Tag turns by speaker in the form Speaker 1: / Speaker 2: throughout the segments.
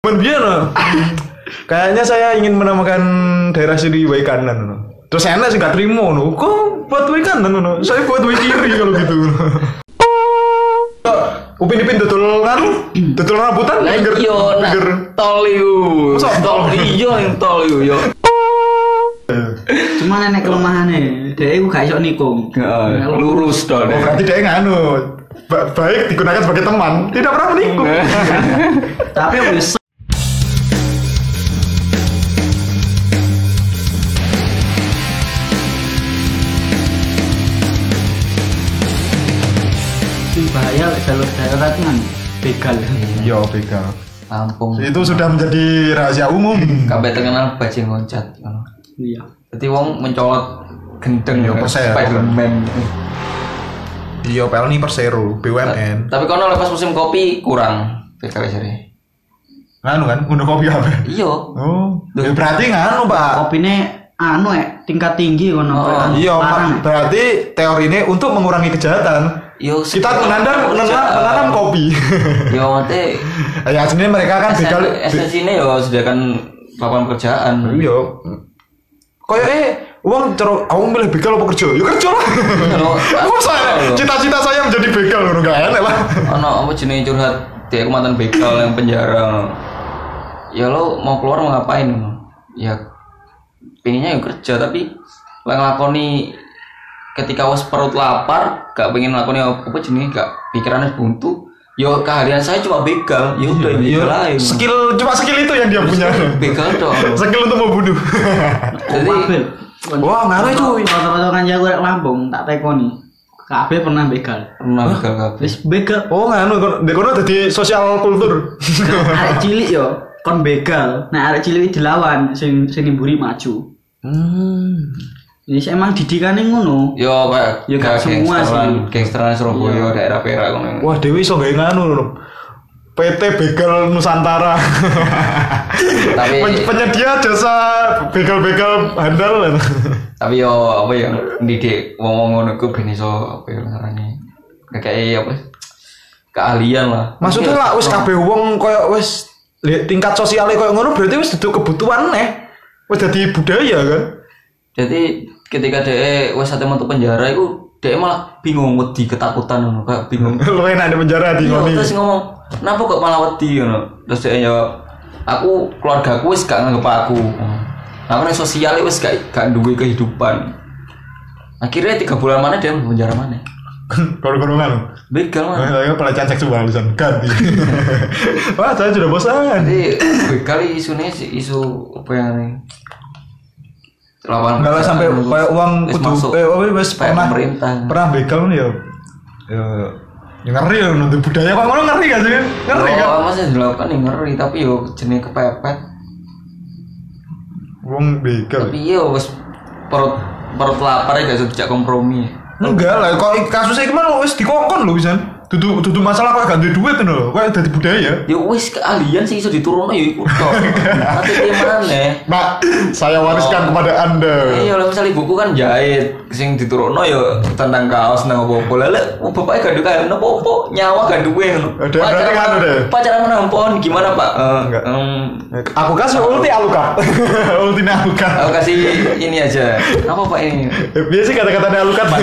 Speaker 1: Kayaknya saya ingin menamakan daerah sini Wai Kanan. no. Terus enak sih gak terima no. Kok buat Wai Kanan no? Saya buat Wai Kiri kalau gitu. no. Kok Upin Ipin tutul kan? Tutul rambutan
Speaker 2: Hmm. Lah
Speaker 1: pinggir
Speaker 2: iya nah,
Speaker 1: pinggir.
Speaker 2: tol iku.
Speaker 1: Masa
Speaker 2: Tol iya yang tol iku yo.
Speaker 3: Cuman enek kelemahannya, dia itu gak iso nikung.
Speaker 2: Heeh, Lurus
Speaker 1: Oh,
Speaker 2: to.
Speaker 1: berarti dia nganu. Ba- baik digunakan sebagai teman, tidak pernah menikung.
Speaker 2: Nah.
Speaker 3: Tapi wis Ini bahaya jalur darat kan begal.
Speaker 1: Iya, begal.
Speaker 4: Lampung.
Speaker 1: Itu sudah menjadi rahasia umum.
Speaker 4: Kabeh terkenal bajing loncat.
Speaker 3: Iya.
Speaker 4: Jadi wong mencolot gendeng
Speaker 1: Ya,
Speaker 4: kayak
Speaker 1: percaya.
Speaker 4: Spiderman.
Speaker 1: Iya, Pelni Persero, BUMN.
Speaker 4: Tapi kono lepas musim kopi kurang PKW seri.
Speaker 1: Nganu kan, ngundang kopi apa?
Speaker 4: Iya.
Speaker 1: Oh, ya berarti nganu, Pak.
Speaker 3: Kopine anu ya, tingkat tinggi kono.
Speaker 4: Oh,
Speaker 3: Pak.
Speaker 1: Iya, Pak.
Speaker 3: Larang, ya.
Speaker 1: berarti teori ini untuk mengurangi kejahatan.
Speaker 4: Yo
Speaker 1: Kita menanam menanam, menanam kopi.
Speaker 4: Yo mate
Speaker 1: ya sebenarnya mereka kan begal.
Speaker 4: esensinya yo sediakan lapangan pekerjaan.
Speaker 1: Iya. Kayak eh uang cero, aku milih begal apa kerja? Yuk kerja lah.
Speaker 4: Yo,
Speaker 1: Aku saya cita-cita saya menjadi begal, ngono nggak enak lah.
Speaker 4: ono apa jenis curhat dia aku mantan begal yang penjara ono. ya lo mau keluar mau ngapain ya pengennya ya kerja tapi lah ngelakoni ketika wes perut lapar gak pengen ngelakoni apa jenis gak pikirannya buntu yo keharian saya cuma begal
Speaker 3: Iya,
Speaker 4: ya udah begal aja
Speaker 1: Iya. Skill cuma skill itu yang dia punya.
Speaker 4: begal dong
Speaker 1: Skill untuk membunuh.
Speaker 4: jadi
Speaker 3: Mobil.
Speaker 1: Wah, ngaruh cuy.
Speaker 3: Foto-foto kan jago rek Lampung, tak tekoni. Kabeh pernah begal.
Speaker 4: pernah begal kabeh
Speaker 3: Wis begal
Speaker 1: Oh, nganu, dekono jadi sosial kultur.
Speaker 3: arek cilik yo kon begal nah arek cilik dilawan sing sing nimburi maju ini saya emang didikane ngono
Speaker 4: yo kayak
Speaker 3: Hmm. Ya, gak
Speaker 4: kayak
Speaker 3: semua sih. Iya.
Speaker 4: gangsteran gangsteran Surabaya daerah Perak ngono
Speaker 1: Wah Dewi iso gawe nganu lho. PT Begal Nusantara.
Speaker 4: Tapi-
Speaker 1: Pen- penyedia jasa begal-begal handal.
Speaker 4: tapi yo apa ya didik wong wong ngono ku ben iso apa ya ngarani kayak iya, apa keahlian lah
Speaker 1: Maksudnya lah wis kabeh wong koyo wis li- tingkat sosialnya koyo ngono berarti wis duduk kebutuhan neh. Wis dadi budaya kan.
Speaker 4: jadi ketika dia wes sate metu penjara itu dia malah bingung wedi ketakutan ngono kayak bingung
Speaker 1: Lu enak di penjara di
Speaker 4: Iya,
Speaker 1: ngoni.
Speaker 4: terus ngomong kenapa kok malah wedi ngono terus dia jawab aku keluargaku wis gak nganggep aku aku nih sosial wis gak gak duwe kehidupan akhirnya tiga bulan mana dia mau penjara mana
Speaker 1: Gorong-gorongan.
Speaker 4: begal mana
Speaker 1: Saya pelecehan seksual misalkan ganti. Wah, saya sudah bosan.
Speaker 4: Jadi kali isunya sih isu apa yang ini? Lawan
Speaker 1: Enggak lah sampai
Speaker 4: pekerjaan,
Speaker 1: kayak uang
Speaker 4: terus
Speaker 1: kudu
Speaker 4: masuk
Speaker 1: eh apa wis
Speaker 4: kayak
Speaker 1: pernah
Speaker 4: pemerintah.
Speaker 1: Pernah begal nih ya. Ya ya ngeri ya nanti budaya kok ngono ngeri gak sih? Ngeri kan.
Speaker 4: Yo, masih dilakukan yang ngeri tapi yo jenis kepepet.
Speaker 1: Wong begal.
Speaker 4: Tapi yo wes perut perut lapar ya gak sejak kompromi.
Speaker 1: Enggak lah kok i- kasusnya kemarin wis dikongkon lho pisan. Dudu dudu masalah kok gak duwe duit lho. Kok dadi budaya. ya?
Speaker 4: Yo wes keahlian sih iso diturunno yo iku tok. Nanti dia mana?
Speaker 1: Pak, saya wariskan
Speaker 4: Oh.
Speaker 1: kepada Anda.
Speaker 4: Iya, lah misalnya ibuku kan jahit, sing diturunno yo tentang kaos nang opo-opo. Lah lek bapake gak duwe kain opo-opo, nyawa gak duwe ngono.
Speaker 1: Ada- berarti
Speaker 4: Pacaran-
Speaker 1: kan ada.
Speaker 4: Pacaran menampon gimana, Pak? Eh,
Speaker 1: Enggak.
Speaker 4: em,
Speaker 1: Aku kasih ulti Aluka. ulti Aluka.
Speaker 4: Aku kasih ini aja. Apa pak ini?
Speaker 1: Eh, Biasa sih kata-kata Aluka
Speaker 4: Ban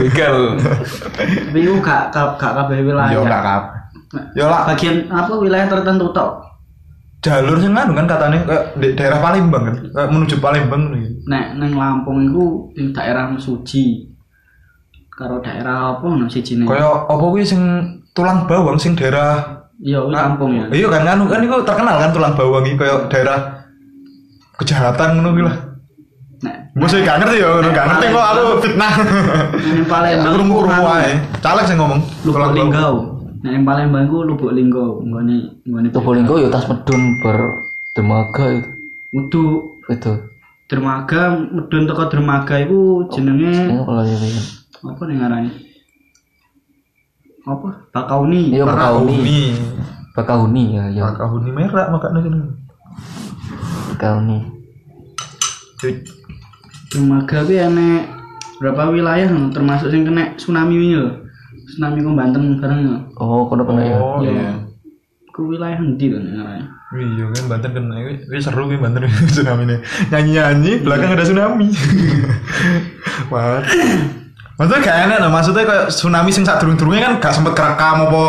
Speaker 4: begal.
Speaker 3: tapi itu gak gak gak kabeh
Speaker 1: Yo
Speaker 3: wilayah
Speaker 1: enggak Ya kap. Yo lah
Speaker 3: bagian apa wilayah tertentu tok
Speaker 1: jalur sing nganu kan katanya kayak di daerah Palembang kan kayak menuju Palembang gitu.
Speaker 3: nek neng Lampung itu di daerah Suci karo daerah apa nang siji ne
Speaker 1: kayak apa kuwi sing tulang bawang sing daerah
Speaker 3: iya kuwi Lampung ya
Speaker 1: iya kan kan kan itu terkenal kan tulang bawang iki kayak daerah kejahatan ngono kuwi lah
Speaker 3: nek
Speaker 1: Gue sih gak ngerti ya, gak ngerti kok aku fitnah.
Speaker 3: neng Palembang
Speaker 1: Kerungu
Speaker 3: ku
Speaker 1: kerungu
Speaker 3: anu,
Speaker 1: aja. Caleg sih ngomong. Tulang
Speaker 3: Lubuk
Speaker 1: bawang.
Speaker 3: Linggau nek neng Palembang ku Lubuk Linggau nggone nggone
Speaker 4: Probolinggo yo tas medun ber dermaga itu.
Speaker 3: Udu
Speaker 4: Itu.
Speaker 3: dermaga medun teko dermaga iku jenenge
Speaker 4: Ini kalau ya ini.
Speaker 3: apa nih ngarani apa bakauni
Speaker 4: Iya Bakauni.
Speaker 1: Bakahuni.
Speaker 4: Bakauni ya, ya
Speaker 1: Bakahuni merah makanya gini.
Speaker 4: Bakauni.
Speaker 3: dermaga kuwi enek berapa wilayah no, termasuk yang kena tsunami ini lho tsunami kok Banten bareng lho
Speaker 4: Oh, kono kena ya.
Speaker 1: Oh iya.
Speaker 3: ku wilayah endi to nek ngarane?
Speaker 1: Iya kan Banten kena Wih, wih, seru kan Banten tsunami nih Nyanyi-nyanyi belakang ada tsunami What? Maksudnya gak enak loh Maksudnya kayak tsunami sing saat turun-turunnya kan gak sempet kerekam apa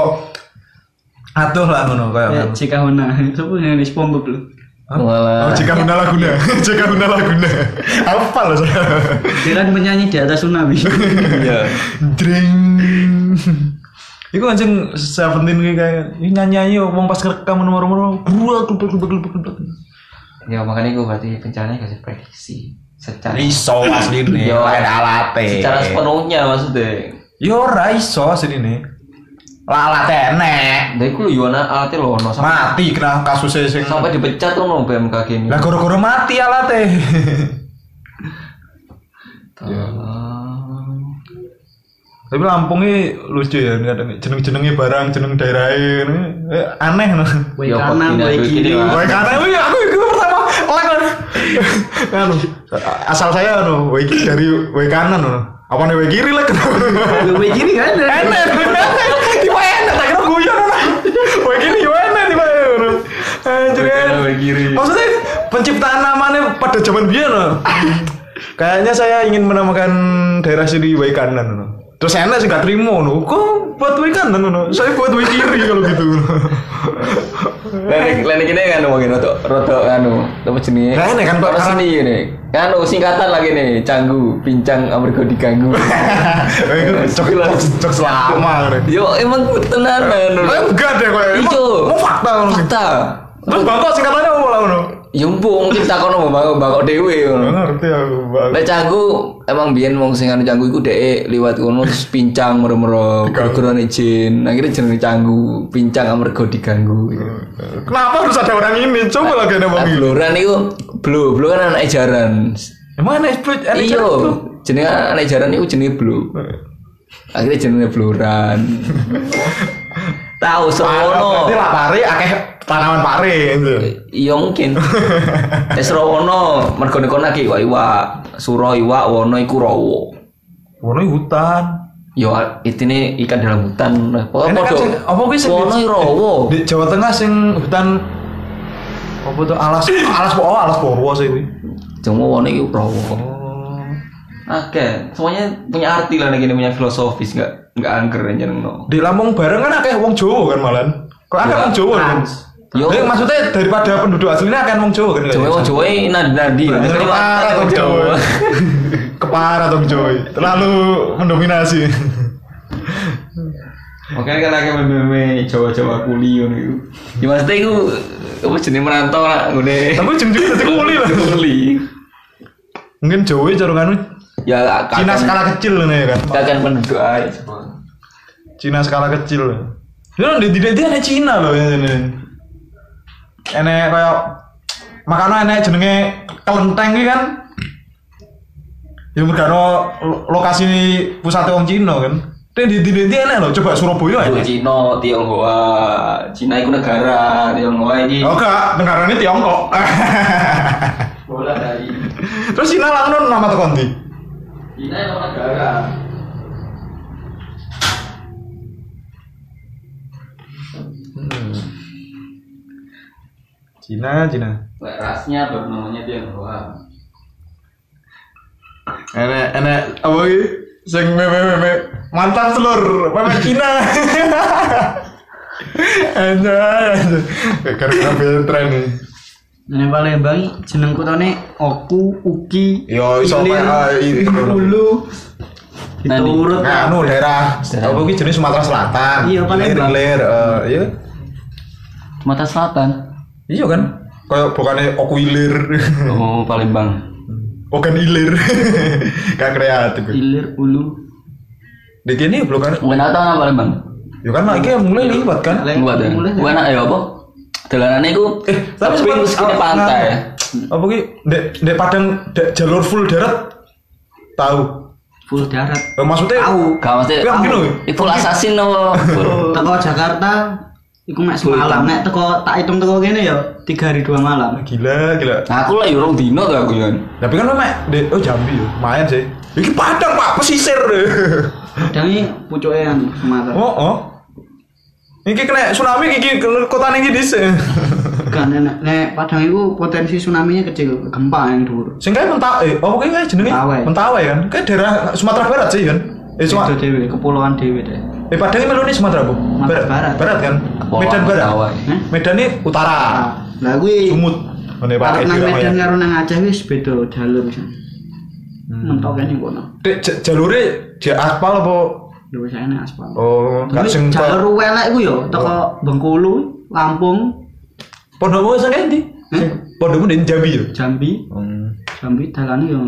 Speaker 1: Atuh lah ngono kayak
Speaker 4: Eh,
Speaker 3: Ya jika mana? Sopo yang ini SpongeBob lho.
Speaker 1: Hah?
Speaker 4: Walah.
Speaker 1: Oh, jika guna laguna Jika guna laguna Apa loh saudara
Speaker 3: Diran penyanyi di atas tsunami.
Speaker 2: Iya.
Speaker 1: Dring Iku anjing Seventeen kayak kayak "Ih, nyanyi-nyanyi wong pas ngerekam nomor-nomor Buat kelupet-kelupet-kelupet
Speaker 4: Ya makanya gue berarti rencananya kasih prediksi
Speaker 1: Nah,
Speaker 4: secara
Speaker 1: Iso asli nih
Speaker 4: Yo,
Speaker 1: lain alate
Speaker 4: secara sepenuhnya maksudnya.
Speaker 1: Yo ora iso sini nih. Lalat enek.
Speaker 4: Dari ku yo ana alate Nah, lho ono sampai,
Speaker 1: Mati kena kasusnya sing.
Speaker 4: sampai dipecat ono BMKG ini.
Speaker 1: Lah goro-goro mati alate. iya.
Speaker 4: Tolong.
Speaker 1: Tapi Lampungnya lucu ya kadang jeneng-jenenge barang jeneng daerahnya ini. eh, aneh no.
Speaker 3: Woi
Speaker 4: Ya,
Speaker 3: kanan,
Speaker 4: kok
Speaker 3: woi
Speaker 4: gini,
Speaker 3: kiri.
Speaker 4: gini lah.
Speaker 1: Wae kata aku aku iku pertama lek kan. Anu, asal saya anu wae kiri dari wae kanan anu. Apa nih wae kiri lek.
Speaker 3: Woi kiri kan?
Speaker 1: Enak. Tiba enak tak kira guyon anu. Wae kiri yo enak tiba. anu. Anjir. enak.
Speaker 2: kiri.
Speaker 1: Maksudnya penciptaan namanya pada zaman biyen loh. Kayaknya saya ingin menamakan daerah sini Wai Kanan. loh. Terus enak sih gak terima no. Kok buat Wai Kanan no? Saya buat Wai Kiri kalau gitu. no.
Speaker 4: Lain lain gini kan ngomongin roto roto anu apa jenenge?
Speaker 1: Lah, ini kan, Pak,
Speaker 4: Roto
Speaker 1: karena-
Speaker 4: seni ini. Kan oh, singkatan lagi nih, canggu, pincang amarga diganggu.
Speaker 1: Eh, itu Cok cok selama. kan.
Speaker 4: Yo emang tenanan. lho.
Speaker 1: Eh, Enggak deh kok. Emang-
Speaker 4: Ijo.
Speaker 1: Mau fakta kan.
Speaker 4: Fakta.
Speaker 1: Terus bangkok singkatannya apa lah no?
Speaker 4: Yo mbok mungkin takon sama bangkok bangkok dhewe.
Speaker 1: Nggak ngerti aku. Bang.
Speaker 4: Lek canggu emang biyen wong sing anu canggu iku dhek liwat kono terus pincang merem-merem gara-gara izin. Akhirnya jenenge canggu, pincang amarga diganggu.
Speaker 1: Kenapa harus ada orang ini? Coba lagi nama
Speaker 4: Nah,
Speaker 1: ini.
Speaker 4: Bloran iku blo, blo kan anak ejaran.
Speaker 1: Emang aneh split aneh
Speaker 4: Iya,
Speaker 1: Cok?
Speaker 4: jenenge anak ejaran iku jenenge blo. Akhirnya jenenge bloran. Tahu
Speaker 1: Nah, Berarti
Speaker 4: serono.
Speaker 1: lah pare akeh tanaman pare gitu.
Speaker 4: Iya mungkin. Wis rono, mergo nek kono iki kok iwak, suro iwak, wono iku rowo.
Speaker 1: Wono hutan.
Speaker 4: Yo intine ikan dalam hutan. Nah, Pokoknya
Speaker 1: Enak kan
Speaker 4: podo.
Speaker 1: sing- apa kuwi sing
Speaker 4: Wono
Speaker 1: di-
Speaker 4: rowo.
Speaker 1: Di Jawa Tengah sing hutan apa tuh alas alas po oh, alas Purwo sih kuwi.
Speaker 4: Cuma wono iku rowo.
Speaker 1: Oh.
Speaker 4: Oke, semuanya punya arti lah nek ini punya filosofis enggak enggak angker nyenengno.
Speaker 1: Di Lampung bareng kan akeh wong Jawa kan malan. Kok akeh
Speaker 4: Ya,
Speaker 1: wong Jawa kan?
Speaker 4: trans. Yo.
Speaker 1: Nek maksudnya daripada penduduk aslinya akeh wong Jawa kan.
Speaker 4: Cuma wong Jawa ini nadi-nadi.
Speaker 1: Berarti
Speaker 4: Nek ini
Speaker 1: Kepara
Speaker 4: wong
Speaker 1: dong Jawa.
Speaker 4: Jawa.
Speaker 1: Kepara dong Jawa. Terlalu mendominasi.
Speaker 4: Makanya kan akeh meme Jawa-Jawa kuli ngono iku. Ya maksudnya iku apa jenenge merantau lah ngene.
Speaker 1: Tapi jeng-jeng dadi kuli lah.
Speaker 4: Kuli.
Speaker 1: Mungkin Jawa cara kanu
Speaker 4: Ya
Speaker 1: Cina skala kecil nih ya kan.
Speaker 4: kakan penduduk ae sebenarnya.
Speaker 1: Cina skala kecil. Ya di di dia Cina loh ya ini. Enek kayak makanan enek jenenge kelenteng iki kan. Ya mergano lo- lokasi pusat wong Cina kan. Tapi di di di enek loh coba Surabaya enek.
Speaker 4: Ibu Cina, Tionghoa, Cina itu negara, Tionghoa ini
Speaker 1: Oh enggak, negarane Tiongkok.
Speaker 4: bola dari
Speaker 1: Terus Cina lah ngono nama tekan ndi?
Speaker 4: Cina itu negara.
Speaker 1: Cina, Cina.
Speaker 4: Lek rasnya baru namanya Tionghoa.
Speaker 1: Enek enek apa iki? Sing meme meme mantap telur, meme Cina. Anjay, anjay. Gara-gara filter nih.
Speaker 3: Nek Palembang jeneng kutane Oku, Uki,
Speaker 1: Yo, iso
Speaker 3: Ilir,
Speaker 1: kayak, ah, i-
Speaker 3: Hulu.
Speaker 4: Nah,
Speaker 3: Itu
Speaker 4: di-
Speaker 3: urut.
Speaker 1: Nah, anu daerah apa iki jenis Sumatera Selatan.
Speaker 3: Iya, paling
Speaker 1: Ilir,
Speaker 3: bang.
Speaker 1: ilir, eh, iya.
Speaker 4: Sumatera Selatan.
Speaker 1: Iya kan? Kayak bukannya oku ilir.
Speaker 4: Oh, Palembang.
Speaker 1: Okan ilir. Kayak kreatif.
Speaker 3: Hilir, Hulu.
Speaker 1: Di kene bukan
Speaker 4: Bukan atau apa Palembang?
Speaker 1: ya kan lagi mulai liwat kan.
Speaker 4: Buat ya.
Speaker 3: Mulai.
Speaker 4: Bukan ya apa? Dalanannya itu eh, tapi
Speaker 1: sempat-
Speaker 4: terus kini
Speaker 1: ah,
Speaker 4: pantai.
Speaker 1: nah, Apa ki? Dek dek Padang dek jalur full darat. Tahu.
Speaker 3: Full darat.
Speaker 1: Eh, Maksudnya
Speaker 3: Tahu.
Speaker 4: Gak mesti.
Speaker 1: Yang gini,
Speaker 4: Oh, Itu assassin apa?
Speaker 3: Teko Jakarta iku mek semalam, nek teko tak hitung teko kene ya 3 hari 2 malam.
Speaker 1: gila gila.
Speaker 4: Nah, aku lah yurung dino tuh aku kan.
Speaker 1: Tapi kan lo mek dek oh Jambi yo, main sih. Iki Padang Pak pesisir.
Speaker 3: Kadang iki pucuke yang Sumatera.
Speaker 1: Oh, oh. Iki kena tsunami iki kota ning iki dhisik.
Speaker 3: Gak nek nek Padang itu potensi tsunami nya kecil, gempa yang dulu.
Speaker 1: Sing kae mentawai. Oh, kae kae jenenge
Speaker 3: Mentawai.
Speaker 1: Mentawai kan. Kae daerah Sumatera Barat sih kan. Eh,
Speaker 3: Itu
Speaker 1: Sumatera.
Speaker 3: dewe, kepulauan dewe deh.
Speaker 1: Eh, Padang ini meluni Sumatera, Bu.
Speaker 3: Sumatera Barat.
Speaker 1: Barat kan.
Speaker 2: Kepulauan
Speaker 1: Medan Barat.
Speaker 2: Mentawai.
Speaker 3: Hah?
Speaker 1: Medan ini utara.
Speaker 3: Lah kuwi
Speaker 1: Ah. Sumut. Ngene gitu,
Speaker 3: Kalau
Speaker 1: pakai
Speaker 3: nang Ah. Medan kan.
Speaker 1: diramai.
Speaker 3: karo nang Aceh wis beda jalur sih.
Speaker 1: Hmm.
Speaker 3: Mentok kan yang kono.
Speaker 1: Dek j- jalure dia aspal apa?
Speaker 3: Ya wis enak aspal.
Speaker 1: Oh, gak
Speaker 3: Tapi
Speaker 1: sing Oh.
Speaker 3: jalur welek ku yo teko Bengkulu, Lampung,
Speaker 1: Pondomu sing endi?
Speaker 3: Hah?
Speaker 1: Pondomu ning Jambi ya.
Speaker 3: Jambi, Jambi dalane yo.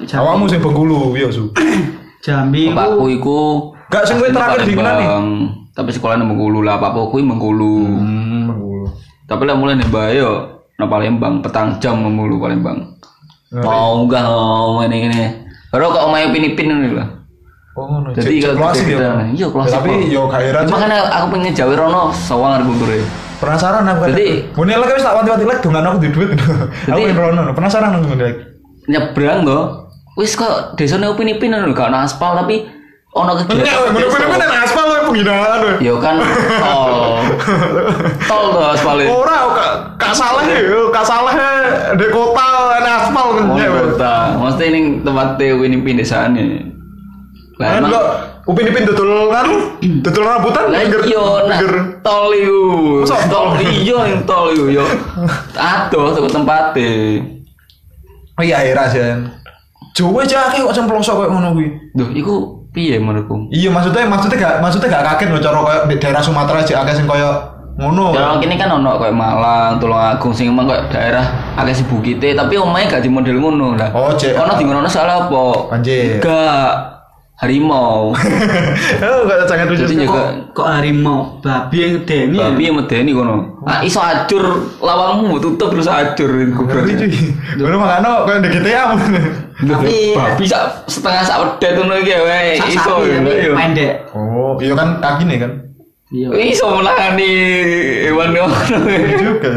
Speaker 3: Jambi-
Speaker 1: Awakmu sing Bengkulu ya, Su.
Speaker 3: Jambi
Speaker 2: Bapakku
Speaker 3: ku
Speaker 2: iku
Speaker 1: Gak, sing kuwi
Speaker 2: asline
Speaker 1: terakhir di mana nih?
Speaker 2: Palembang, Tapi sekolah nang Bengkulu lah, bapakku kuwi Bengkulu.
Speaker 1: Hmm, Bengkulu.
Speaker 2: Tapi lah mulai nih yo nang Palembang petang jam nang Bengkulu Palembang.
Speaker 1: Nah, iya.
Speaker 2: Mau gak mau ini ini. oh, Baru kok main pinipin ini lah.
Speaker 1: Oh, ngono.
Speaker 2: Jadi
Speaker 1: Cek- cek
Speaker 2: kalau
Speaker 1: klasik
Speaker 2: kita-
Speaker 1: ya.
Speaker 2: iya, klasik,
Speaker 1: Tapi
Speaker 2: Pak.
Speaker 1: yo gak heran.
Speaker 2: Makanya kan aku pengen jawe rono sawang kulture.
Speaker 1: penasaran aku
Speaker 2: Jadi-
Speaker 1: Mune lek wis tak wanti-wanti lek dongan aku di duit. Aku
Speaker 2: Jadi- Iya,
Speaker 1: pengen rono, penasaran aku ngene lek.
Speaker 2: Nyebrang to. Wis kok desane upin-ipin lho gak ana aspal tapi ono
Speaker 1: Nek
Speaker 2: kegiatan.
Speaker 1: ngono
Speaker 2: desa.
Speaker 1: kuwi nek aspal lek penghinaan. we.
Speaker 2: Ya kan tol. Tol to aspale.
Speaker 1: Ora kak kak salah ya, kak salah di kota nek aspal
Speaker 2: Oh,
Speaker 1: ngene. we.
Speaker 2: kota. Mesti ning tempat upin-ipin desane.
Speaker 1: Kan
Speaker 2: Lah emang
Speaker 1: kok upin-ipin dodol kan dodol rambutan
Speaker 2: lah
Speaker 1: pinggir
Speaker 2: iya nah
Speaker 1: pinggir.
Speaker 2: tol iku.
Speaker 1: Masa
Speaker 2: Tol
Speaker 1: tol?
Speaker 2: iya yang tol iku yo. Adoh tuku tempate.
Speaker 1: Oh iya heran sih. Jawa aja akeh kok semplosok koyo ngono kuwi.
Speaker 2: Duh, iku piye menurutku?
Speaker 1: Iya maksudnya maksudnya gak maksudnya gak kaget loh cara koyo di daerah Sumatera aja akeh sing koyo ngono.
Speaker 2: Kalau kini kan ono kayak Malang, Tulungagung sing emang kayak daerah akeh si bukite, tapi omahe gak di model ngono lah.
Speaker 1: Oh, cek.
Speaker 2: Ono di ngono salah apa?
Speaker 1: Anjir.
Speaker 2: Gak harimau.
Speaker 1: Oh, gak jangan lucu.
Speaker 2: Jadi
Speaker 3: kok
Speaker 2: juga
Speaker 3: kok harimau babi yang gedeni.
Speaker 1: Iya.
Speaker 3: ya?
Speaker 2: babi yang medeni kono. Ah iso acur lawangmu tutup terus acur
Speaker 1: Iya,
Speaker 2: goblok.
Speaker 1: Ngerti cuy. Baru makano koyo di GTA
Speaker 3: Tapi- ya,
Speaker 2: babi sak setengah sak wedet ngono iki wae
Speaker 3: Sak
Speaker 2: iso ya, iya.
Speaker 3: sapi
Speaker 2: ngono
Speaker 3: tapi
Speaker 2: yo.
Speaker 3: pendek.
Speaker 1: Oh, iya kan kaki nih kan.
Speaker 3: Iya.
Speaker 2: Iso menangani hewan ngono.
Speaker 1: Iya juga.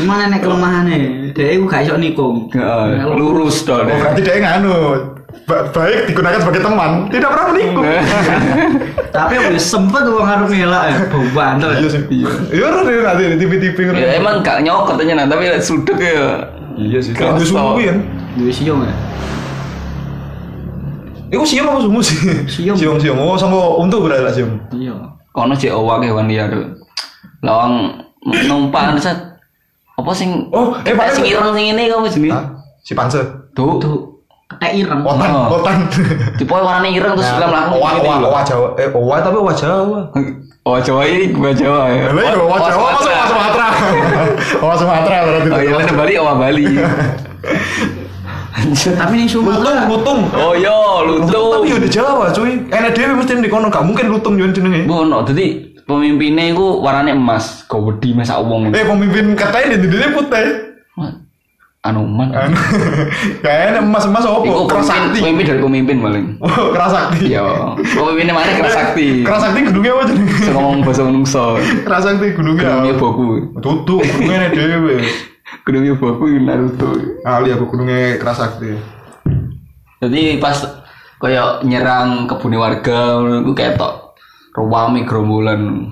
Speaker 3: Cuma nek kelemahannya, dia itu gak iso nikung.
Speaker 2: Heeh, Nah, lurus to.
Speaker 1: Oh,
Speaker 2: deh.
Speaker 1: berarti dia nganu. Ba- baik digunakan sebagai teman, tidak pernah menikung.
Speaker 3: Tapi aku sempet wong arep ngelak ya, bau banter.
Speaker 1: Iya sih. Iya. Iya orang ini nanti di TV-TV kan.
Speaker 2: Ya emang gak nyokot tenan tapi lek sudut ya.
Speaker 1: Iya sih.
Speaker 2: Gak
Speaker 1: Kalau di
Speaker 2: usah.
Speaker 1: sumu kan.
Speaker 3: Duwe siung ya.
Speaker 1: Iku siom apa sumu sih?
Speaker 3: Siom.
Speaker 1: Siom siom. Oh, sama untu berarti lah siom.
Speaker 3: Iya.
Speaker 2: kono cek owak hewan liar lawang numpak set apa sing
Speaker 1: Oh, eh,
Speaker 2: Ketek
Speaker 1: Pak,
Speaker 2: sing
Speaker 1: eh,
Speaker 2: ireng sing ngene apa jenenge
Speaker 1: Hah? Si panse.
Speaker 2: tuh
Speaker 3: Itu ketek ireng.
Speaker 1: Otan,
Speaker 2: Oh. Nah,
Speaker 1: otan.
Speaker 2: tipe warnane ireng
Speaker 4: Nah,
Speaker 2: terus gitu dalam langsung
Speaker 1: Owa, owa, owa Jawa. Eh, owa tapi owa Jawa.
Speaker 2: oh Jawa ini gua Jawa ya
Speaker 1: Lah iya owa Jawa masuk owa Sumatera. Owa Sumatera berarti.
Speaker 2: oh iya lah Bali owa Bali Lanjut.
Speaker 3: Tapi ning
Speaker 1: Lutung,
Speaker 3: Sumatera
Speaker 1: lutung.
Speaker 2: oh yo
Speaker 1: Tapi yo
Speaker 2: lutung
Speaker 1: di Jawa cuy. Enak dhewe mesti di kono, gak mungkin lutung yo jenenge.
Speaker 2: bono dadi pemimpinnya iku warnane emas kok wedi mesak wong
Speaker 1: Eh pemimpin katanya di dunia putih.
Speaker 2: anu man
Speaker 1: Anu, Kayaknya emas-emas
Speaker 2: iku
Speaker 1: opo?
Speaker 2: pemimpin
Speaker 1: Kerasakti.
Speaker 2: pemimpin dari pemimpin paling
Speaker 1: Oh, kerasakti.
Speaker 2: iya pemimpinnya mana kerasakti
Speaker 1: Kerasakti gunungnya apa jenenge?
Speaker 2: Saya ngomong bahasa menungso.
Speaker 1: Kerasakti gunungnya.
Speaker 2: Gedungnya
Speaker 1: apa?
Speaker 2: boku.
Speaker 1: Tutu, gunungnya nih dewe.
Speaker 2: Gedungnya boku ini Naruto.
Speaker 1: Ali aku gunungnya gitu ya. kerasakti.
Speaker 2: Jadi pas kayak nyerang kebun warga, gue ketok ruwami gerombolan.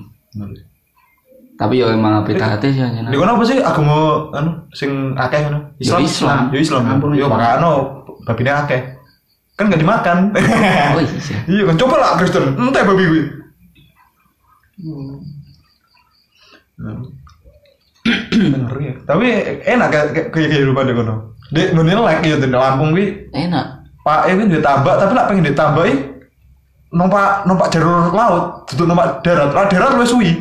Speaker 2: Tapi ya emang apa hati sih anjir.
Speaker 1: Di kono apa sih agama anu sing akeh ngono?
Speaker 2: Ya, Islam.
Speaker 1: Yo Islam.
Speaker 3: Ampun,
Speaker 1: Yo
Speaker 3: Islam.
Speaker 1: makano babine akeh. Kan gak dimakan.
Speaker 2: Oh iya sih.
Speaker 1: Iya kan coba lah Kristen, entah babi Hmm. gue. Ngeri ya. Tapi enak kayak kayak kayak kehidupan deh kono. Dek ngene lek ya di Lampung gue
Speaker 2: Enak.
Speaker 1: Pak Ewin dia tambak tapi nak pengen ditambahi numpak numpak jalur laut, duduk numpak darat, lah darat lu suwi.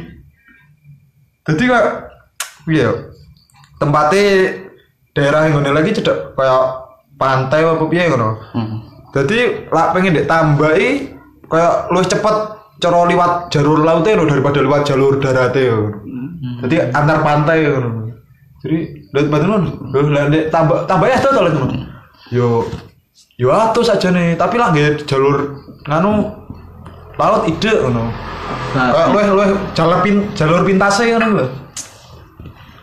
Speaker 1: Jadi kayak iya tempatnya daerah yang ngene lagi cedek kayak pantai apa piye ngono.
Speaker 2: Hmm.
Speaker 1: Jadi lak pengen ditambahi kayak luwih cepet cara liwat jalur lautnya lho daripada liwat jalur daratnya. lho. Jadi antar pantai ngono. Jadi lihat batu lho, lho nek tambah tambah ya total ngono. Yo yo atus aja nih, tapi lah nggih jalur nganu laut ide ngono.
Speaker 3: Ah.
Speaker 1: Kayak luwih luwih jalur pin jalur pintase ngono lho.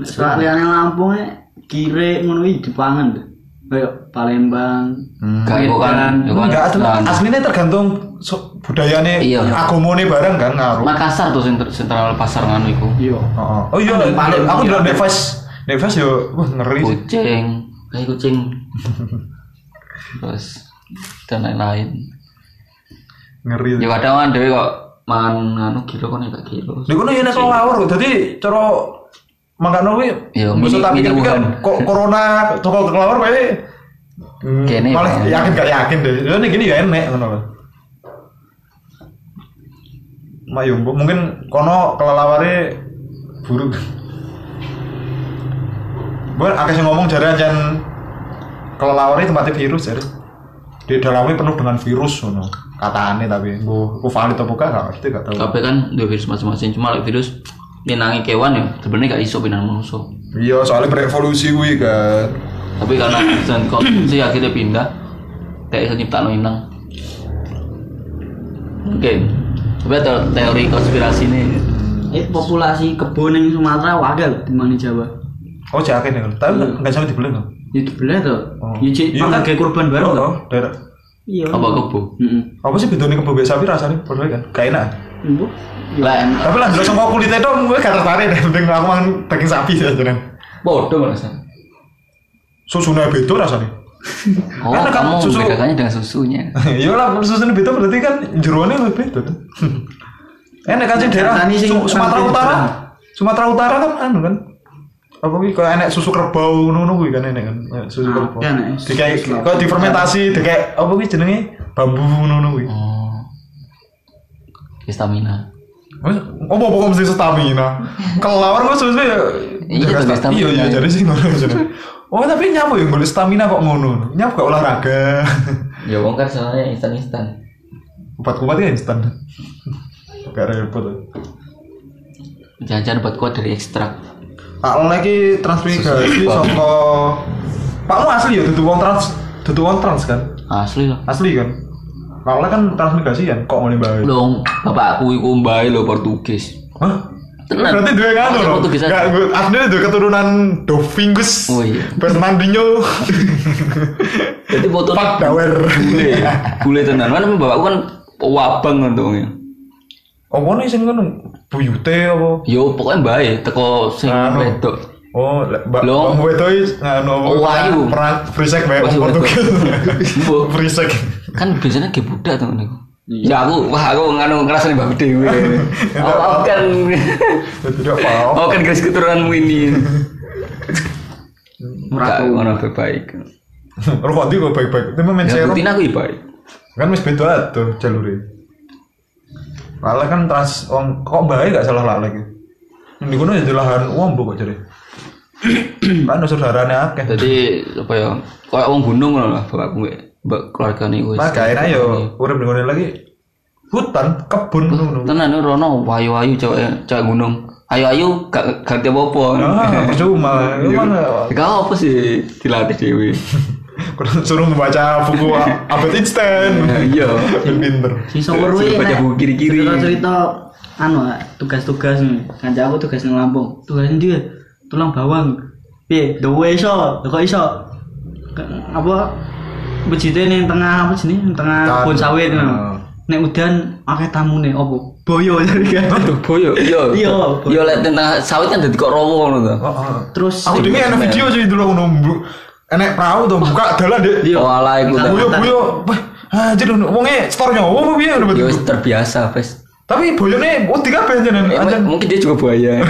Speaker 3: Sekalian Lampung e kire ngono iki dipangan. kayak Palembang
Speaker 1: Hmm.
Speaker 2: Gak kok kan,
Speaker 3: Medan.
Speaker 2: yo kan.
Speaker 1: Enggak,
Speaker 2: Nah,
Speaker 1: aslinya tergantung so, budayane
Speaker 2: Iya.
Speaker 1: agamane bareng kan ngaruh.
Speaker 2: Makassar tuh sentral sentral pasar nganu iku.
Speaker 3: iya
Speaker 1: Heeh. Oh iya,
Speaker 3: Kan paling
Speaker 1: aku
Speaker 3: iya.
Speaker 1: dalam device device yo wah ngeri sih.
Speaker 2: Kucing, kayak kucing. Terus dan lain-lain.
Speaker 1: Ngeri.
Speaker 2: Ya kadang kan dhewe kok mangan nganu gila kan ya gak gila.
Speaker 1: Lha kono yen soal lawur kok dadi cara mangkano kuwi
Speaker 2: Iya,
Speaker 1: musuh
Speaker 2: mini-
Speaker 1: tapi
Speaker 2: mini
Speaker 1: tapi kan
Speaker 2: Wuhan.
Speaker 1: kok corona toko kelawar kayak Hmm,
Speaker 2: Kene,
Speaker 1: malah
Speaker 2: Pak.
Speaker 1: yakin gak yakin deh. Ya ini gini ya enek ngono lho. Mak yo mbok- mungkin kono kelelaware buruk. Gue akeh sing ngomong jare ancen kelelaware tempatnya virus jare. Di dalamnya penuh dengan virus ngono. Katane tapi gue valid atau bukan gak ngerti gak tahu.
Speaker 2: Kabeh kan dua virus masing-masing, cuma lek virus minangi kewan ya sebenarnya gak iso pinang manusia.
Speaker 1: Iya, soalnya berevolusi kuwi kan.
Speaker 2: Tapi karena dan konsumsi akhirnya pindah, kayak iso nyiptakno inang. Oke. Tapi ada teori konspirasi nih.
Speaker 3: eh populasi kebun yang Sumatera wakil timbang di Jawa
Speaker 1: Oh, jaket ya. Tapi nggak- nggak sampai dibeli kan?
Speaker 3: itu belah tuh
Speaker 1: Oh.
Speaker 3: ya
Speaker 1: Iya.
Speaker 3: cek maka kayak kurban
Speaker 1: Oh, Hmm.
Speaker 3: baru tuh
Speaker 1: oh, daerah.
Speaker 3: iya
Speaker 2: Apa kebo?
Speaker 3: Mm-mm.
Speaker 1: Apa sih bedone kebo mbek sapi rasanya padahal kan? Gak enak.
Speaker 3: Embo?
Speaker 2: Lain.
Speaker 1: Tapi lah jelas kok kulitnya dong, gue gak tertarik deh. Mending aku makan daging sapi aja kan.
Speaker 2: Bodoh merasa.
Speaker 1: Susunya beda rasanya.
Speaker 2: Oh,
Speaker 1: Karena kan
Speaker 2: kamu
Speaker 1: susu-
Speaker 2: membedakannya dengan susunya.
Speaker 1: Iya lah, susunya beda berarti kan jeruannya lebih beda kan. enak kan sih daerah
Speaker 3: Rasanya sih
Speaker 1: Su- Sumatera
Speaker 3: rasanya
Speaker 1: Utara.
Speaker 3: beda.
Speaker 1: Sumatera Utara kan anu kan. Apa kuwi kayak enak susu kerbau ngono kuwi kan enak kan. Enak Susu
Speaker 3: Ah,
Speaker 1: kerbau.
Speaker 3: kan, eh,
Speaker 1: Dikai
Speaker 3: susu
Speaker 1: kok
Speaker 3: kerbau.
Speaker 1: difermentasi, dikai apa kuwi jenenge bambu ngono kuwi.
Speaker 2: Oh. Ya, Stamina.
Speaker 1: Wes, Apa apa mesti stamina? Kelawar gue sebenarnya ya.
Speaker 2: Iya,
Speaker 1: jaga
Speaker 2: tapi
Speaker 1: sta-
Speaker 2: stamina.
Speaker 1: Iya iya jadi sih ngono jadi. Oh tapi nyapu ya golek stamina kok ngono. Nyapu gak olahraga.
Speaker 2: Ya wong kan sebenarnya instan-instan.
Speaker 1: Obat kuat ya instan. Gak repot.
Speaker 2: Jajan buat kuat dari ekstrak.
Speaker 1: Pak Lon lagi transmigrasi saka Pak Lon asli ya dudu wong trans, dudu wong trans kan?
Speaker 2: Asli loh.
Speaker 1: Asli kan? Pak Lon kan transmigrasi kan kok ngene bae.
Speaker 2: Dong, bapakku iku mbae lho Portugis.
Speaker 1: Hah?
Speaker 2: Tenan.
Speaker 1: Berarti duwe kan
Speaker 2: Asli
Speaker 1: lho.
Speaker 2: Portugis aja.
Speaker 1: Enggak, aslinya duwe keturunan Dovingus.
Speaker 2: Oh iya.
Speaker 1: Fernandinho.
Speaker 2: Jadi foto
Speaker 1: Pak Bauer.
Speaker 2: bule, bule tenan. Kan bapakku kan wabang kan tuh.
Speaker 1: Oh, kono sing ngono buyute apa?
Speaker 2: Yo pokoknya mbae teko sing
Speaker 1: Anu.
Speaker 2: wedok.
Speaker 1: Oh, le- mbak
Speaker 2: Loh.
Speaker 1: wong wedo iki ngono apa?
Speaker 2: Oh, ayu.
Speaker 1: Perang frisek bae wong
Speaker 2: Masih
Speaker 1: Portugis.
Speaker 2: Mbok.
Speaker 1: Frisek.
Speaker 2: Kan biasanya ge budak tuh niku. Ya aku wah aku nganu ngrasani mbak dhewe. Aku aku kan
Speaker 1: Tidak paham.
Speaker 2: aku kan garis keturunanmu ini.
Speaker 3: Ora
Speaker 2: Enggak ngono be baik.
Speaker 1: Lu kok ndi kok baik-baik. Tapi main
Speaker 2: Ya
Speaker 1: serum.
Speaker 2: rutin aku ya baik.
Speaker 1: kan wis beda tuh jalure malah kan trans wong kok bae gak salah lah lagi di kono ya lahan wong mbok kok jadi kan unsur darahnya akeh
Speaker 2: Jadi apa ya? Kayak wong gunung ngono lah bapakku gue. Mbak keluarga niku. wis.
Speaker 1: mas kayaknya yo urip di kono lagi hutan kebun ngono
Speaker 2: Tenan ini rono ayu-ayu cewek cewek gunung. Ayu-ayu gak gak tiap apa.
Speaker 1: ah percuma emang
Speaker 2: Gak apa sih dilatih dewi.
Speaker 1: kurang suruh membaca buku A- abad instan
Speaker 2: Nah, iya.
Speaker 1: Ben pinter
Speaker 3: si sopir
Speaker 2: Suruh
Speaker 3: wih
Speaker 2: baca buku kiri-kiri.
Speaker 3: cerita cerita anu ah, tugas-tugas nih kanca aku tugas nang Lampung tugasnya dia tulang bawang piye doa iso kok iso Ke- apa bejite ning tengah apa jenis ning tengah
Speaker 1: Tan.
Speaker 3: kebun sawit
Speaker 1: Heeh.
Speaker 3: ngono nek udan akeh tamune opo boyo jadi kan
Speaker 2: Tuh boyo. Iya.
Speaker 3: Iya.
Speaker 2: Iya lek tentang sawit kan jadi kok rowo ngono tuh.
Speaker 1: oh, oh.
Speaker 3: terus
Speaker 1: aku dengar enak video sih dulu ngono Bu. enak perahu tuh buka dalan deh
Speaker 2: Iya. Oh ala iku tuh.
Speaker 1: buyo buyo wah anjir Oh, wongnya store nyawa piye udah
Speaker 2: Ya wis terbiasa wis.
Speaker 1: Tapi boyone uti kabeh jenengan
Speaker 2: Eh,
Speaker 1: anjen.
Speaker 2: Mungkin dia juga buaya.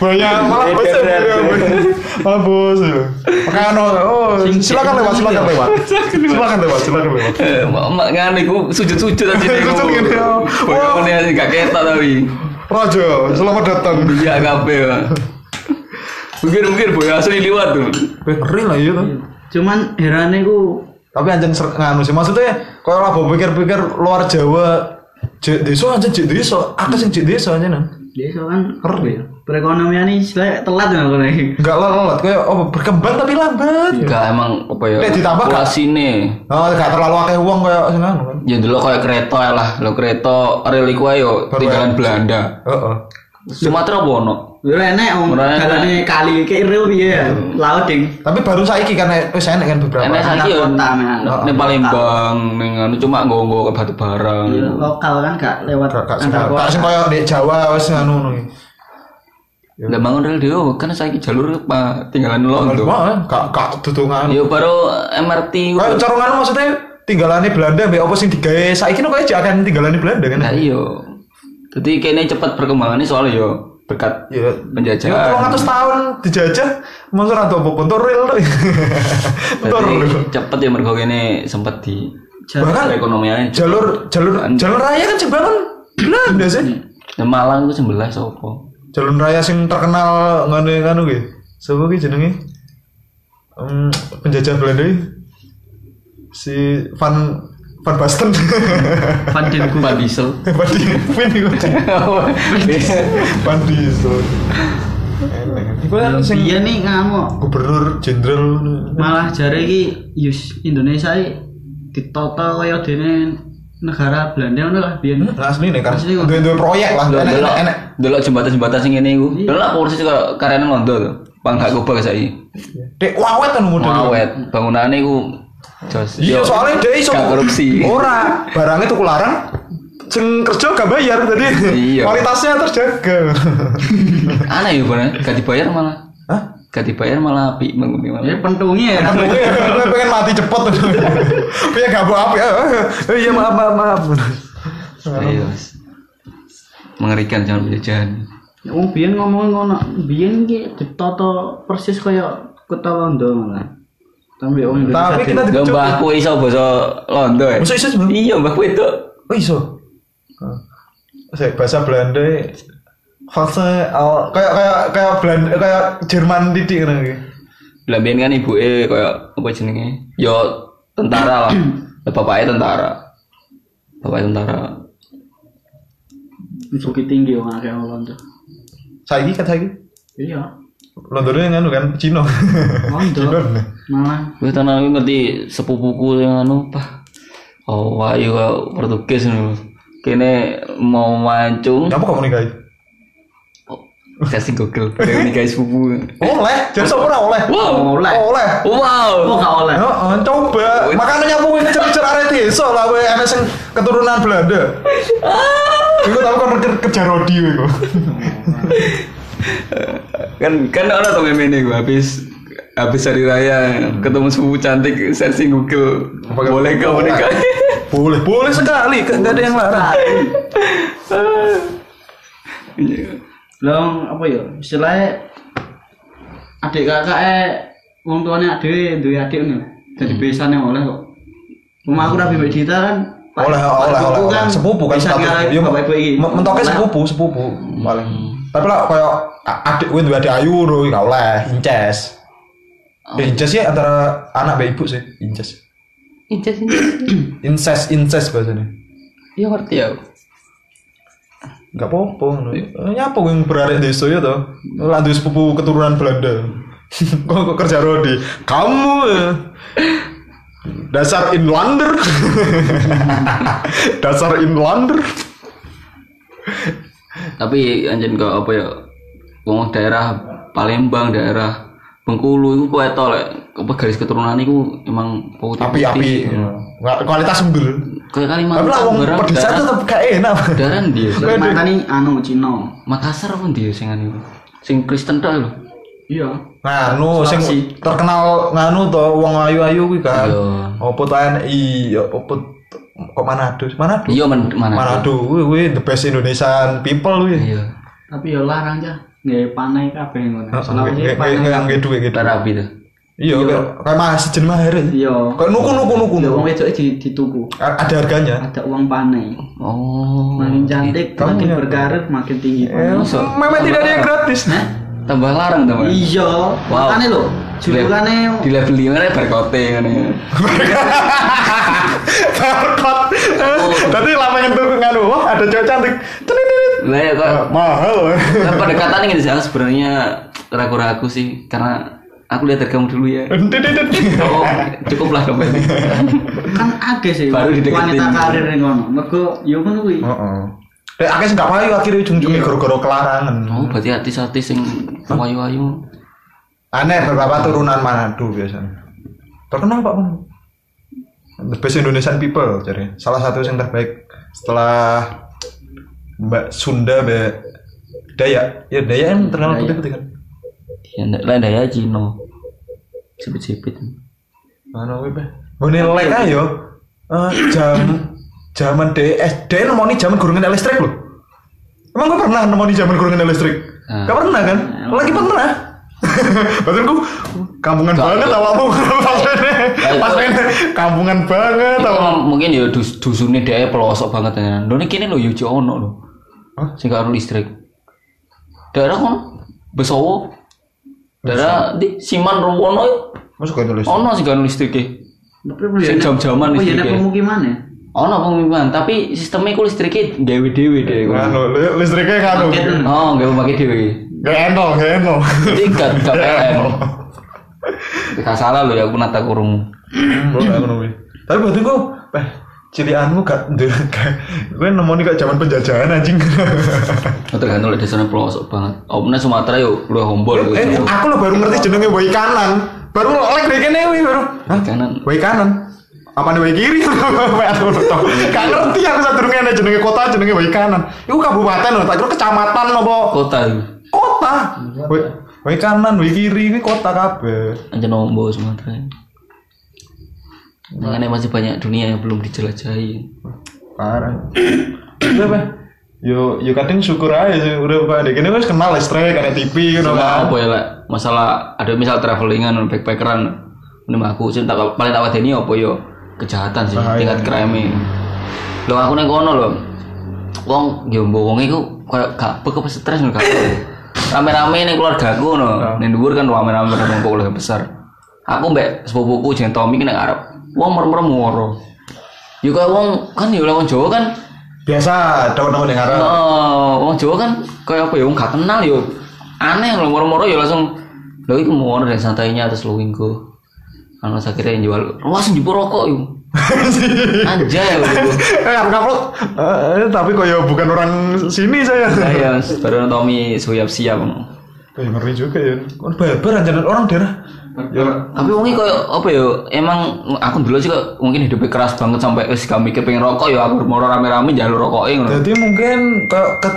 Speaker 1: Banyak
Speaker 3: Eh,
Speaker 1: malah bos. ya,
Speaker 2: Berat,
Speaker 1: boyo,
Speaker 2: berat.
Speaker 1: boyo. Malah bos. ya. Makanya no, oh
Speaker 3: Sing-
Speaker 1: silakan
Speaker 3: sing-
Speaker 1: lewat,
Speaker 3: sing-
Speaker 1: silakan
Speaker 3: sing-
Speaker 1: lewat. Silakan lewat, silakan lewat.
Speaker 2: Eh, Mak mak ngene iku sujud-sujud aja niku.
Speaker 1: Sujud ngene, ya.
Speaker 2: Boyo
Speaker 1: Wah.
Speaker 2: ngene aja gak ketok tapi.
Speaker 1: Rojo, selamat datang.
Speaker 2: Iya kabeh. Pak. Mungkin mungkin boyo asli liwat tuh.
Speaker 1: Wih, Ngeri lah iya kan.
Speaker 3: cuman herane ku
Speaker 1: Tapi anjen ser- nganu sih maksudnya kalau lah bawa pikir-pikir luar Jawa jek desa anjen jek desa, aku sing jek desa anjen.
Speaker 3: desa kan
Speaker 1: Ngerti.
Speaker 3: perekonomian ini kayak telat kan aku lagi
Speaker 1: Enggak lelet kayak oh berkembang tapi lambat.
Speaker 2: Enggak emang apa ya?
Speaker 1: Lek ditambah gak-
Speaker 2: populasinya.
Speaker 1: Oh, gak terlalu akeh wong kayak sing anu kan.
Speaker 2: Ya dulu kayak kereta ya lah, lo kereta rel iku ayo
Speaker 1: Baru
Speaker 2: tinggalan
Speaker 1: ya.
Speaker 2: Belanda.
Speaker 1: Heeh.
Speaker 2: Sumatera apa ono?
Speaker 3: Lu enek om
Speaker 4: Ora enek.
Speaker 3: dalane kali iki iri piye ya? Laut ding.
Speaker 1: Tapi baru saiki kan eh, wis enak kan beberapa.
Speaker 4: Enak
Speaker 3: anak
Speaker 4: saiki yo.
Speaker 3: kota, anak
Speaker 4: Nek
Speaker 3: kota.
Speaker 4: Palembang ning anu cuma nggo-nggo ke batu bara.
Speaker 3: Lokal kan gak lewat
Speaker 1: Gak gak sing
Speaker 3: antar
Speaker 1: gak sing
Speaker 3: kota.
Speaker 1: koyo di Jawa wis anu ngono iki.
Speaker 4: Lah bangun rel dhewe kan saiki jalur apa tinggalan londo.
Speaker 1: Wah, gak gak dutungan.
Speaker 4: Yo baru MRT.
Speaker 1: Kayak corongan maksudnya tinggalane Belanda mbek apa sing digawe saiki no koyo akan tinggalane Belanda kan.
Speaker 4: Nah
Speaker 2: iya.
Speaker 4: iyo. Jadi kayaknya cepat perkembangannya soalnya yo berkat
Speaker 1: Ya. Ya
Speaker 4: penjajahan.
Speaker 1: 300 tahun dijajah masa ora tau apa tur real to. Tur.
Speaker 4: Jadi cepet ya mergo kene sempat di
Speaker 3: Jalan.
Speaker 1: Bahkan
Speaker 4: perekonomiannya.
Speaker 1: jalur jalur jalur raya kan sebangun Belanda sih.
Speaker 4: Dan Malang itu sembelah sopo.
Speaker 1: Jalur raya sing terkenal ngene nganu ki. Sopo ki jenenge? Em, penjajah Belanda ki. Si Van Van Basten.
Speaker 3: Van
Speaker 1: Iya.
Speaker 3: Den Gogh.
Speaker 4: Pak Diesel.
Speaker 1: Van Diepen iku. Van Diesel. Enak. Iku kan sing
Speaker 3: Iya nih ngamuk.
Speaker 1: gubernur jenderal
Speaker 3: Malah jare iki yus Indonesia iki ditata kaya dene negara Belanda ngono lah biyen.
Speaker 1: Nah, asli nih kan.
Speaker 3: Asli kok.
Speaker 1: Dua-dua proyek lah. Enak,
Speaker 4: Delok
Speaker 1: enak, enak.
Speaker 4: delok jembatan-jembatan sing ngene iku.
Speaker 1: Iya.
Speaker 4: Delok kursi kok karyane londo to. Bang gak gobal saiki.
Speaker 1: Dek wawet kan model.
Speaker 4: Awet bangunane iku jos.
Speaker 1: Iya,
Speaker 4: Yo,
Speaker 1: soalnya dia iso Oh.
Speaker 4: gak korupsi.
Speaker 1: Ora, barangnya tuku larang. Sing kerja gak bayar tadi.
Speaker 4: Iya.
Speaker 1: Kualitasnya terjaga.
Speaker 4: Aneh yo bener, gak dibayar malah.
Speaker 1: Hah?
Speaker 4: Gak dibayar malah api bangun
Speaker 3: Ya
Speaker 4: malah.
Speaker 3: pentungi ya.
Speaker 1: Aduh, ya, gue pengen mati cepet. Pengen gak bawa api. Eh, eh, Iya, maaf, maaf, maaf.
Speaker 4: Ayo. wis. Mengerikan jangan penjajahan.
Speaker 3: Wong biyen ngomong ngono, biyen iki ditata persis kaya kota Londo malah. Tapi wong
Speaker 1: Tapi kita
Speaker 4: Lho mbah kowe iso basa londo ya.
Speaker 1: Masuk iso sebenarnya.
Speaker 4: Iya mbah kowe itu.
Speaker 1: Oh iso. Saya bahasa Belanda. Fase al kayak kayak kayak Belanda kayak Jerman titik ngono iki.
Speaker 4: Lah biyen kan ibuke koyo apa jenenge? Yo tentara lah. Lah bapaknya tentara. Bapaknya tentara.
Speaker 3: Bukit tinggi wong akeh wong Londo.
Speaker 1: Saiki kan saiki.
Speaker 3: Iya,
Speaker 1: Londonnya nganu kan Cina.
Speaker 3: Londo.
Speaker 1: Cina. nih.
Speaker 3: Malah
Speaker 4: Wis tenan aku ngerti sepupuku yang anu pah. Oh, wah, yo Portugis ngono. Kene mau mancung
Speaker 1: Nyapa kamu nikahi?
Speaker 4: kasih Google. Dewe nih guys sepupu.
Speaker 1: Oh, Oleh, jadi sapa ora oleh? Oh,
Speaker 4: Wow.
Speaker 3: oleh.
Speaker 1: Oleh.
Speaker 3: Kok
Speaker 4: Wow.
Speaker 3: gak oleh?
Speaker 1: Heeh, coba. Makanya nyapu kowe cer-cer arek desa lah kowe ana sing keturunan Belanda.
Speaker 3: Ah.
Speaker 1: Iku tau kan kerja kerja rodi kowe iku.
Speaker 4: Kan kan orang tuh meme nih gua habis habis hari raya ketemu sepupu cantik searching Google. Boleh kau menikah?
Speaker 1: Boleh, boleh sekali, enggak ada yang larang.
Speaker 4: Iya.
Speaker 3: Long apa ya? Istilahnya adik kakak eh wong tuane adik duwe adik ngono.
Speaker 1: Hmm.
Speaker 3: Jadi besane oleh kok. Rumah aku rabi mbek Dita kan Pak-
Speaker 1: oleh
Speaker 3: Pak
Speaker 1: oleh
Speaker 3: Ibuku
Speaker 1: oleh oleh sepupu kan
Speaker 3: besan
Speaker 1: status
Speaker 3: karo
Speaker 1: dia
Speaker 3: bapak ibu iki. Nah. Hmm.
Speaker 1: men- mentoknya sepupu sepupu paling tapi lah kayak a- adik gue dua adik ayu loh gak oleh inces
Speaker 3: Oh.
Speaker 1: ya inces ya antara anak sama ibu sih inces
Speaker 4: Inces inces.
Speaker 1: incest incest bahasanya
Speaker 4: Iya ngerti ya.
Speaker 1: gak apa-apa ngono. Eh, nyapa gue berarek desa ya toh lah duwe sepupu keturunan Belanda kok kok kerja rodi kamu eh. dasar inlander dasar inlander
Speaker 4: Tapi anjen kok apa ya? Wong daerah Palembang, daerah Bengkulu itu kowe tau lek apa garis keturunan iku emang putih.
Speaker 1: api-api Nggak- kualitas unggul
Speaker 4: Kayak
Speaker 1: Tapi lah
Speaker 4: Kalimantan
Speaker 1: wong
Speaker 4: barang
Speaker 1: pedesa
Speaker 4: daerah-
Speaker 1: tetep gak enak.
Speaker 4: daerah ndi ya? Sel?
Speaker 3: Matane anu Cina.
Speaker 4: Makassar pun ndi ya sing anu iku? Sing Kristen tok lho.
Speaker 3: Iya.
Speaker 1: Nganu sing
Speaker 3: Sulawesi.
Speaker 1: terkenal nganu to wong ayu-ayu kuwi kan.
Speaker 4: Iya.
Speaker 1: Opo TNI, ya opo t- kok Manado? Manado.
Speaker 4: Iya men mana?
Speaker 1: Manado kuwi kuwi the best Indonesian people kuwi.
Speaker 4: Iya.
Speaker 3: Tapi ya larang ya. Nggak panai kabeh ngono.
Speaker 1: Ah,
Speaker 3: Selawesi
Speaker 1: Heeh.
Speaker 3: panai.
Speaker 1: Kayak gitu gitu.
Speaker 4: Terapi tuh.
Speaker 1: Iya, kayak- kayak mah sejen mahar. ya.
Speaker 3: Iya.
Speaker 1: Kayak nuku nuku nuku.
Speaker 3: Ya
Speaker 1: nuku.
Speaker 3: wong wedoke di dituku.
Speaker 1: A- Ada harganya.
Speaker 3: Ada uang panai.
Speaker 4: Oh.
Speaker 3: Makin cantik,
Speaker 1: Kamu
Speaker 3: makin
Speaker 1: punya-
Speaker 3: berkarir, makin tinggi.
Speaker 1: Eh,
Speaker 4: Masuk.
Speaker 1: Memang tidak ada yang gratis.
Speaker 4: Tambah larang teman.
Speaker 3: Iya,
Speaker 4: Wow.
Speaker 3: makanya lho, julukannya
Speaker 4: di level lima nih berkote kan ya.
Speaker 1: Barcode. Tadi lama nyentuh nganu, wah ada cowok cantik. Tenitit.
Speaker 4: Lah ya kok
Speaker 1: Eh, Mahal.
Speaker 4: Nah, pendekatan ini sih aku sebenarnya ragu-ragu sih karena aku lihat dari kamu dulu ya.
Speaker 1: Tenitit.
Speaker 4: Oh, cukuplah kamu ini.
Speaker 3: kan agak sih
Speaker 4: Baru dideketin.
Speaker 3: wanita karir yang ngono. Mergo yo ngono kuwi.
Speaker 1: Heeh. Dek akeh sing gak payu akhirnya ujung-ujungnya gara-gara kelarangan.
Speaker 4: Oh, berarti hati-hati sing wayu-wayu.
Speaker 1: Aneh beberapa turunan Manado biasanya. Terkenal Pak Mun. The best Indonesian people jadi salah satu yang terbaik setelah Mbak Sunda Mbak Dayak. Ya Dayak yang terkenal
Speaker 4: Dayak.
Speaker 1: putih-putih kan.
Speaker 4: Ya ndak lah daya Cino. Sipit-sipit.
Speaker 1: Mana wae, Mbah? Ngene lek ae yo. Eh, jam jaman DS, DS nemoni jaman gurungan listrik lho. Emang gue pernah nemoni jaman gurungan listrik?
Speaker 4: Ah.
Speaker 1: Gak pernah kan? Lagi pernah. Badanku kampungan banget awakmu pas main kampungan banget
Speaker 4: Itu
Speaker 1: awakmu.
Speaker 4: mungkin ya dus dusunnya dia pelosok banget ya. Lho ini kini lho yo jo ono lho.
Speaker 1: Hah?
Speaker 4: Sing karo listrik. Daerah kon Besowo. Daerah di Siman Rowono
Speaker 1: Masuk gak nulis.
Speaker 4: ono sing karo e. listrike. Sing jam-jaman
Speaker 3: Oh iya
Speaker 4: listrike.
Speaker 3: nek pemukiman ya.
Speaker 4: Ono pengumuman, tapi sistemnya ku listriknya gawe dhewe deh.
Speaker 1: Nganu,
Speaker 4: ku.
Speaker 1: iya, anu, li- listriknya nganu.
Speaker 4: Oh, gawe pakai dhewe.
Speaker 1: Gak enak, gak enak.
Speaker 4: Jadi gak gak PM. Gak salah lho ya aku nata kurung.
Speaker 1: Gua gak ngono kuwi. Tapi badanku, eh cilianmu gak ndek. Gue nemoni kok zaman penjajahan anjing.
Speaker 4: Oh, tergantung lah desanya pelosok banget. Omnya Sumatera yuk, lu hombol.
Speaker 1: Eh,
Speaker 4: gitu.
Speaker 1: aku lo baru ngerti jenenge boy kanan. Baru lo lek dari kene wi, baru. Hah?
Speaker 4: Kanan.
Speaker 1: Boy kanan. Apa nih boy kiri? Apa aku lo tau. Gak ngerti aku saat dulu ngene jenenge kota jenenge boy kanan. Iku kabupaten lo, tak kira kecamatan lo po.
Speaker 4: Kota yuk.
Speaker 1: Kota. Boy, boy kanan, boy kiri, ini kota kabeh.
Speaker 4: Anjir nombor Sumatera.
Speaker 1: Nah.
Speaker 4: Makanya masih banyak dunia yang belum dijelajahi.
Speaker 1: Parah. Udah apa? Yo, yo kadang syukur aja sih. Udah pak, dek ini wes kenal listrik, ada TV, gitu
Speaker 4: Sama
Speaker 1: kan.
Speaker 4: apa ya lah? Masalah ada misal travelingan, backpackeran. Ini mah aku sih tak paling tak wadeni apa yo kejahatan sih
Speaker 1: Bahaya.
Speaker 4: tingkat crime Lo aku neng kono lo. Wong yo bohong iku kayak gak bekep stres lho gak. bekep. Rame-rame ning keluarga aku no. Ning dhuwur kan rame-rame ketemu keluarga besar. Aku mbek sepupuku jeneng Tommy ki ning arep. Wong merem-merem ngoro. Yo kayak wong kan yo lewat Jawa kan
Speaker 1: Biasa, teman-teman yang ngarep.
Speaker 4: Oh, wong Jawa kan kayak apa ya wong gak kenal yo. Aneh lho moro-moro ya langsung lho iku mau ono deh santainya terus lu minggu. Anu sakire yang jual. Wah, sing jupuk rokok yo. Anjay lho.
Speaker 1: Ngarep kamu. Tapi kok ya bukan orang sini saya.
Speaker 4: Saya Ya, baru Tommy siap siap.
Speaker 1: Eh, ngeri juga ya. Kan barbar anjir orang daerah. Ya,
Speaker 4: Tapi wongi kayak apa ya? Emang aku dulu sih kok mungkin hidupnya keras banget sampai wis gak mikir pengen rokok ya aku mau rame-rame jalur rokok ngono.
Speaker 1: jadi mungkin ke, ke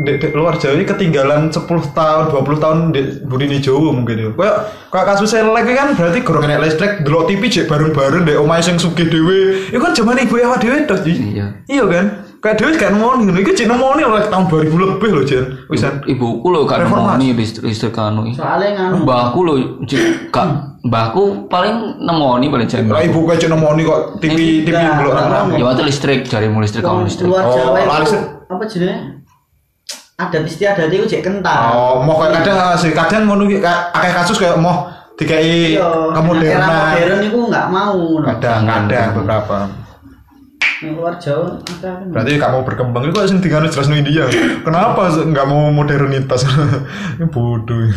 Speaker 1: di, di luar Jawa ini ketinggalan 10 tahun, 20 tahun di budini Jawa mungkin ya. Kayak kayak kasus lek kan berarti gorong nek listrik delok TV jek bareng-bareng ndek omahe sing sugih dhewe. Iku kan zaman ibu awak dhewe tok. Ji.
Speaker 4: Iya.
Speaker 1: Iya kan? Kayak dhewe gak nemoni ngono. Iku jek nemoni oleh tahun 2000 lebih loh, Jen. Wisan.
Speaker 4: Ibuku lho gak
Speaker 1: Reformasi.
Speaker 4: nemoni listrik listrik anu.
Speaker 3: Soalnya nganu.
Speaker 4: Mbahku lho cik, gak mbahku paling nemoni paling jam.
Speaker 1: Lah ibu kayak jek nemoni kok TV TV
Speaker 3: Enggak,
Speaker 1: delok
Speaker 3: enggak.
Speaker 1: rame.
Speaker 4: Ya waktu listrik dari mulai listrik
Speaker 3: Wong
Speaker 4: kamu listrik.
Speaker 3: luar
Speaker 1: Oh,
Speaker 3: Jawa itu
Speaker 1: laris-
Speaker 3: apa jenenge? Adat istiadat itu jek kental.
Speaker 1: Oh, mau kayak kadang ah, sih kadang ngono iki ka- akeh kasus kayak mau dikai
Speaker 3: Iya, era modern
Speaker 1: kemodernan.
Speaker 3: itu nggak mau. no.
Speaker 1: Kadang kadang Iya, beberapa.
Speaker 3: Yang luar Jawa ada.
Speaker 1: Berarti kamu berkembang itu kok sing tinggal jelas no India. Kenapa se- nggak mau modernitas? Ini bodoh.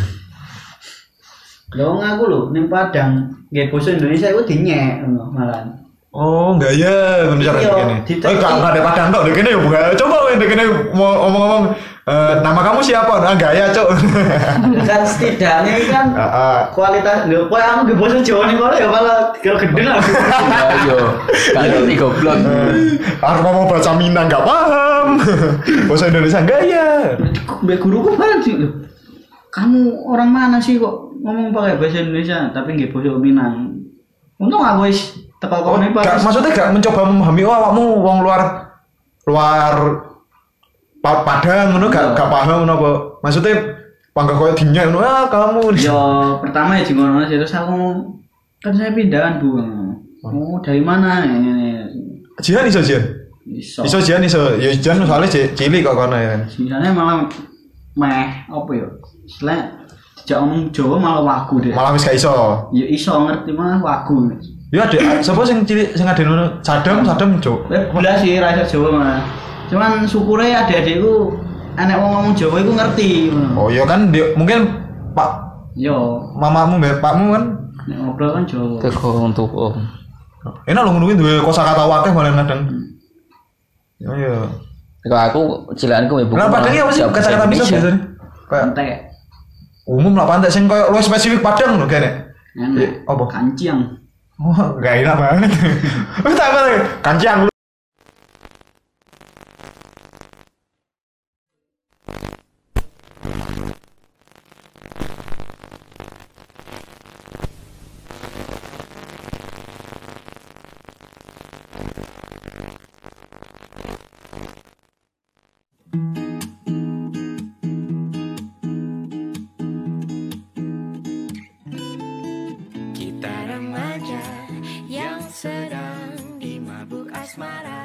Speaker 3: Lho wong aku lho ning Padang, nggih basa Indonesia iku dinyek ngono malah.
Speaker 1: Oh, enggak ya, bicara
Speaker 3: Iya,
Speaker 1: begini.
Speaker 3: ditek-
Speaker 1: Oh, enggak enggak ada padang kok begini ya, bukan. Coba weh begini mau ngomong-ngomong eh, nama kamu siapa? Ah, enggak ya, Cok.
Speaker 3: kan setidaknya ini kan
Speaker 1: Ah, ah.
Speaker 3: kualitas lho kok aku nggih basa Jawa ning kono ya malah kira gede lah.
Speaker 4: Ayo, gak ngerti goblok.
Speaker 1: Harus ngomong bahasa Minang enggak paham. bahasa Indonesia enggak ya.
Speaker 3: Mbak guruku kan sih lho. Kamu orang mana sih kok ngomong pakai bahasa Indonesia tapi nggih basa Minang. Untung aku wis teko
Speaker 1: Oh,
Speaker 3: kono iki
Speaker 1: gak,
Speaker 3: Pak.
Speaker 1: maksudnya gak mencoba memahami oh awakmu wong luar luar pa- Padang ngono gak gak paham ngono apa. Maksudnya panggah koyo dinya ngono ah kamu.
Speaker 3: Ya pertama ya jengono sih terus aku ngomong, kan saya pindahan Bu. Oh, dari mana? Ini, ini.
Speaker 1: Jihan iso Jihan.
Speaker 3: Iso.
Speaker 1: Iso Jihan iso. Ya Jihan soalnya ci- cilik kok kono ya.
Speaker 3: Sebenarnya malah meh apa ya? Setelah tidak ngomong Jawa malah wagu deh.
Speaker 1: Malah wis gak iso.
Speaker 3: Ya iso ngerti malah wagu.
Speaker 1: Ya ada sapa sing cilik sing ada ngono? Sadam Sadam Cuk.
Speaker 3: Eh, Belas sih rasa Jawa malah. Cuman syukure adik-adikku anak wong ngomong Jawa iku ngerti ngono.
Speaker 1: Oh ya kan di- mungkin Pak
Speaker 3: Yo,
Speaker 1: mamamu bapakmu kan
Speaker 3: nek ngobrol kan Jawa.
Speaker 4: Tegong tukong.
Speaker 1: enak lho ngono kuwi duwe kosakata akeh malah kadang. Ya ya.
Speaker 4: Kalau aku cilaanku ya buku.
Speaker 1: Nah, padang apa sih kata-kata bisa biasanya? Kayak
Speaker 3: Entek.
Speaker 1: umum lah pantai sing koyo luwih spesifik padang lho kene.
Speaker 3: Enak.
Speaker 1: Apa?
Speaker 3: Kanciang.
Speaker 1: Wah, gak enak banget. Wis tak apa lagi? Kancang lu.
Speaker 5: Kita remaja yang sedang dimabuk asmara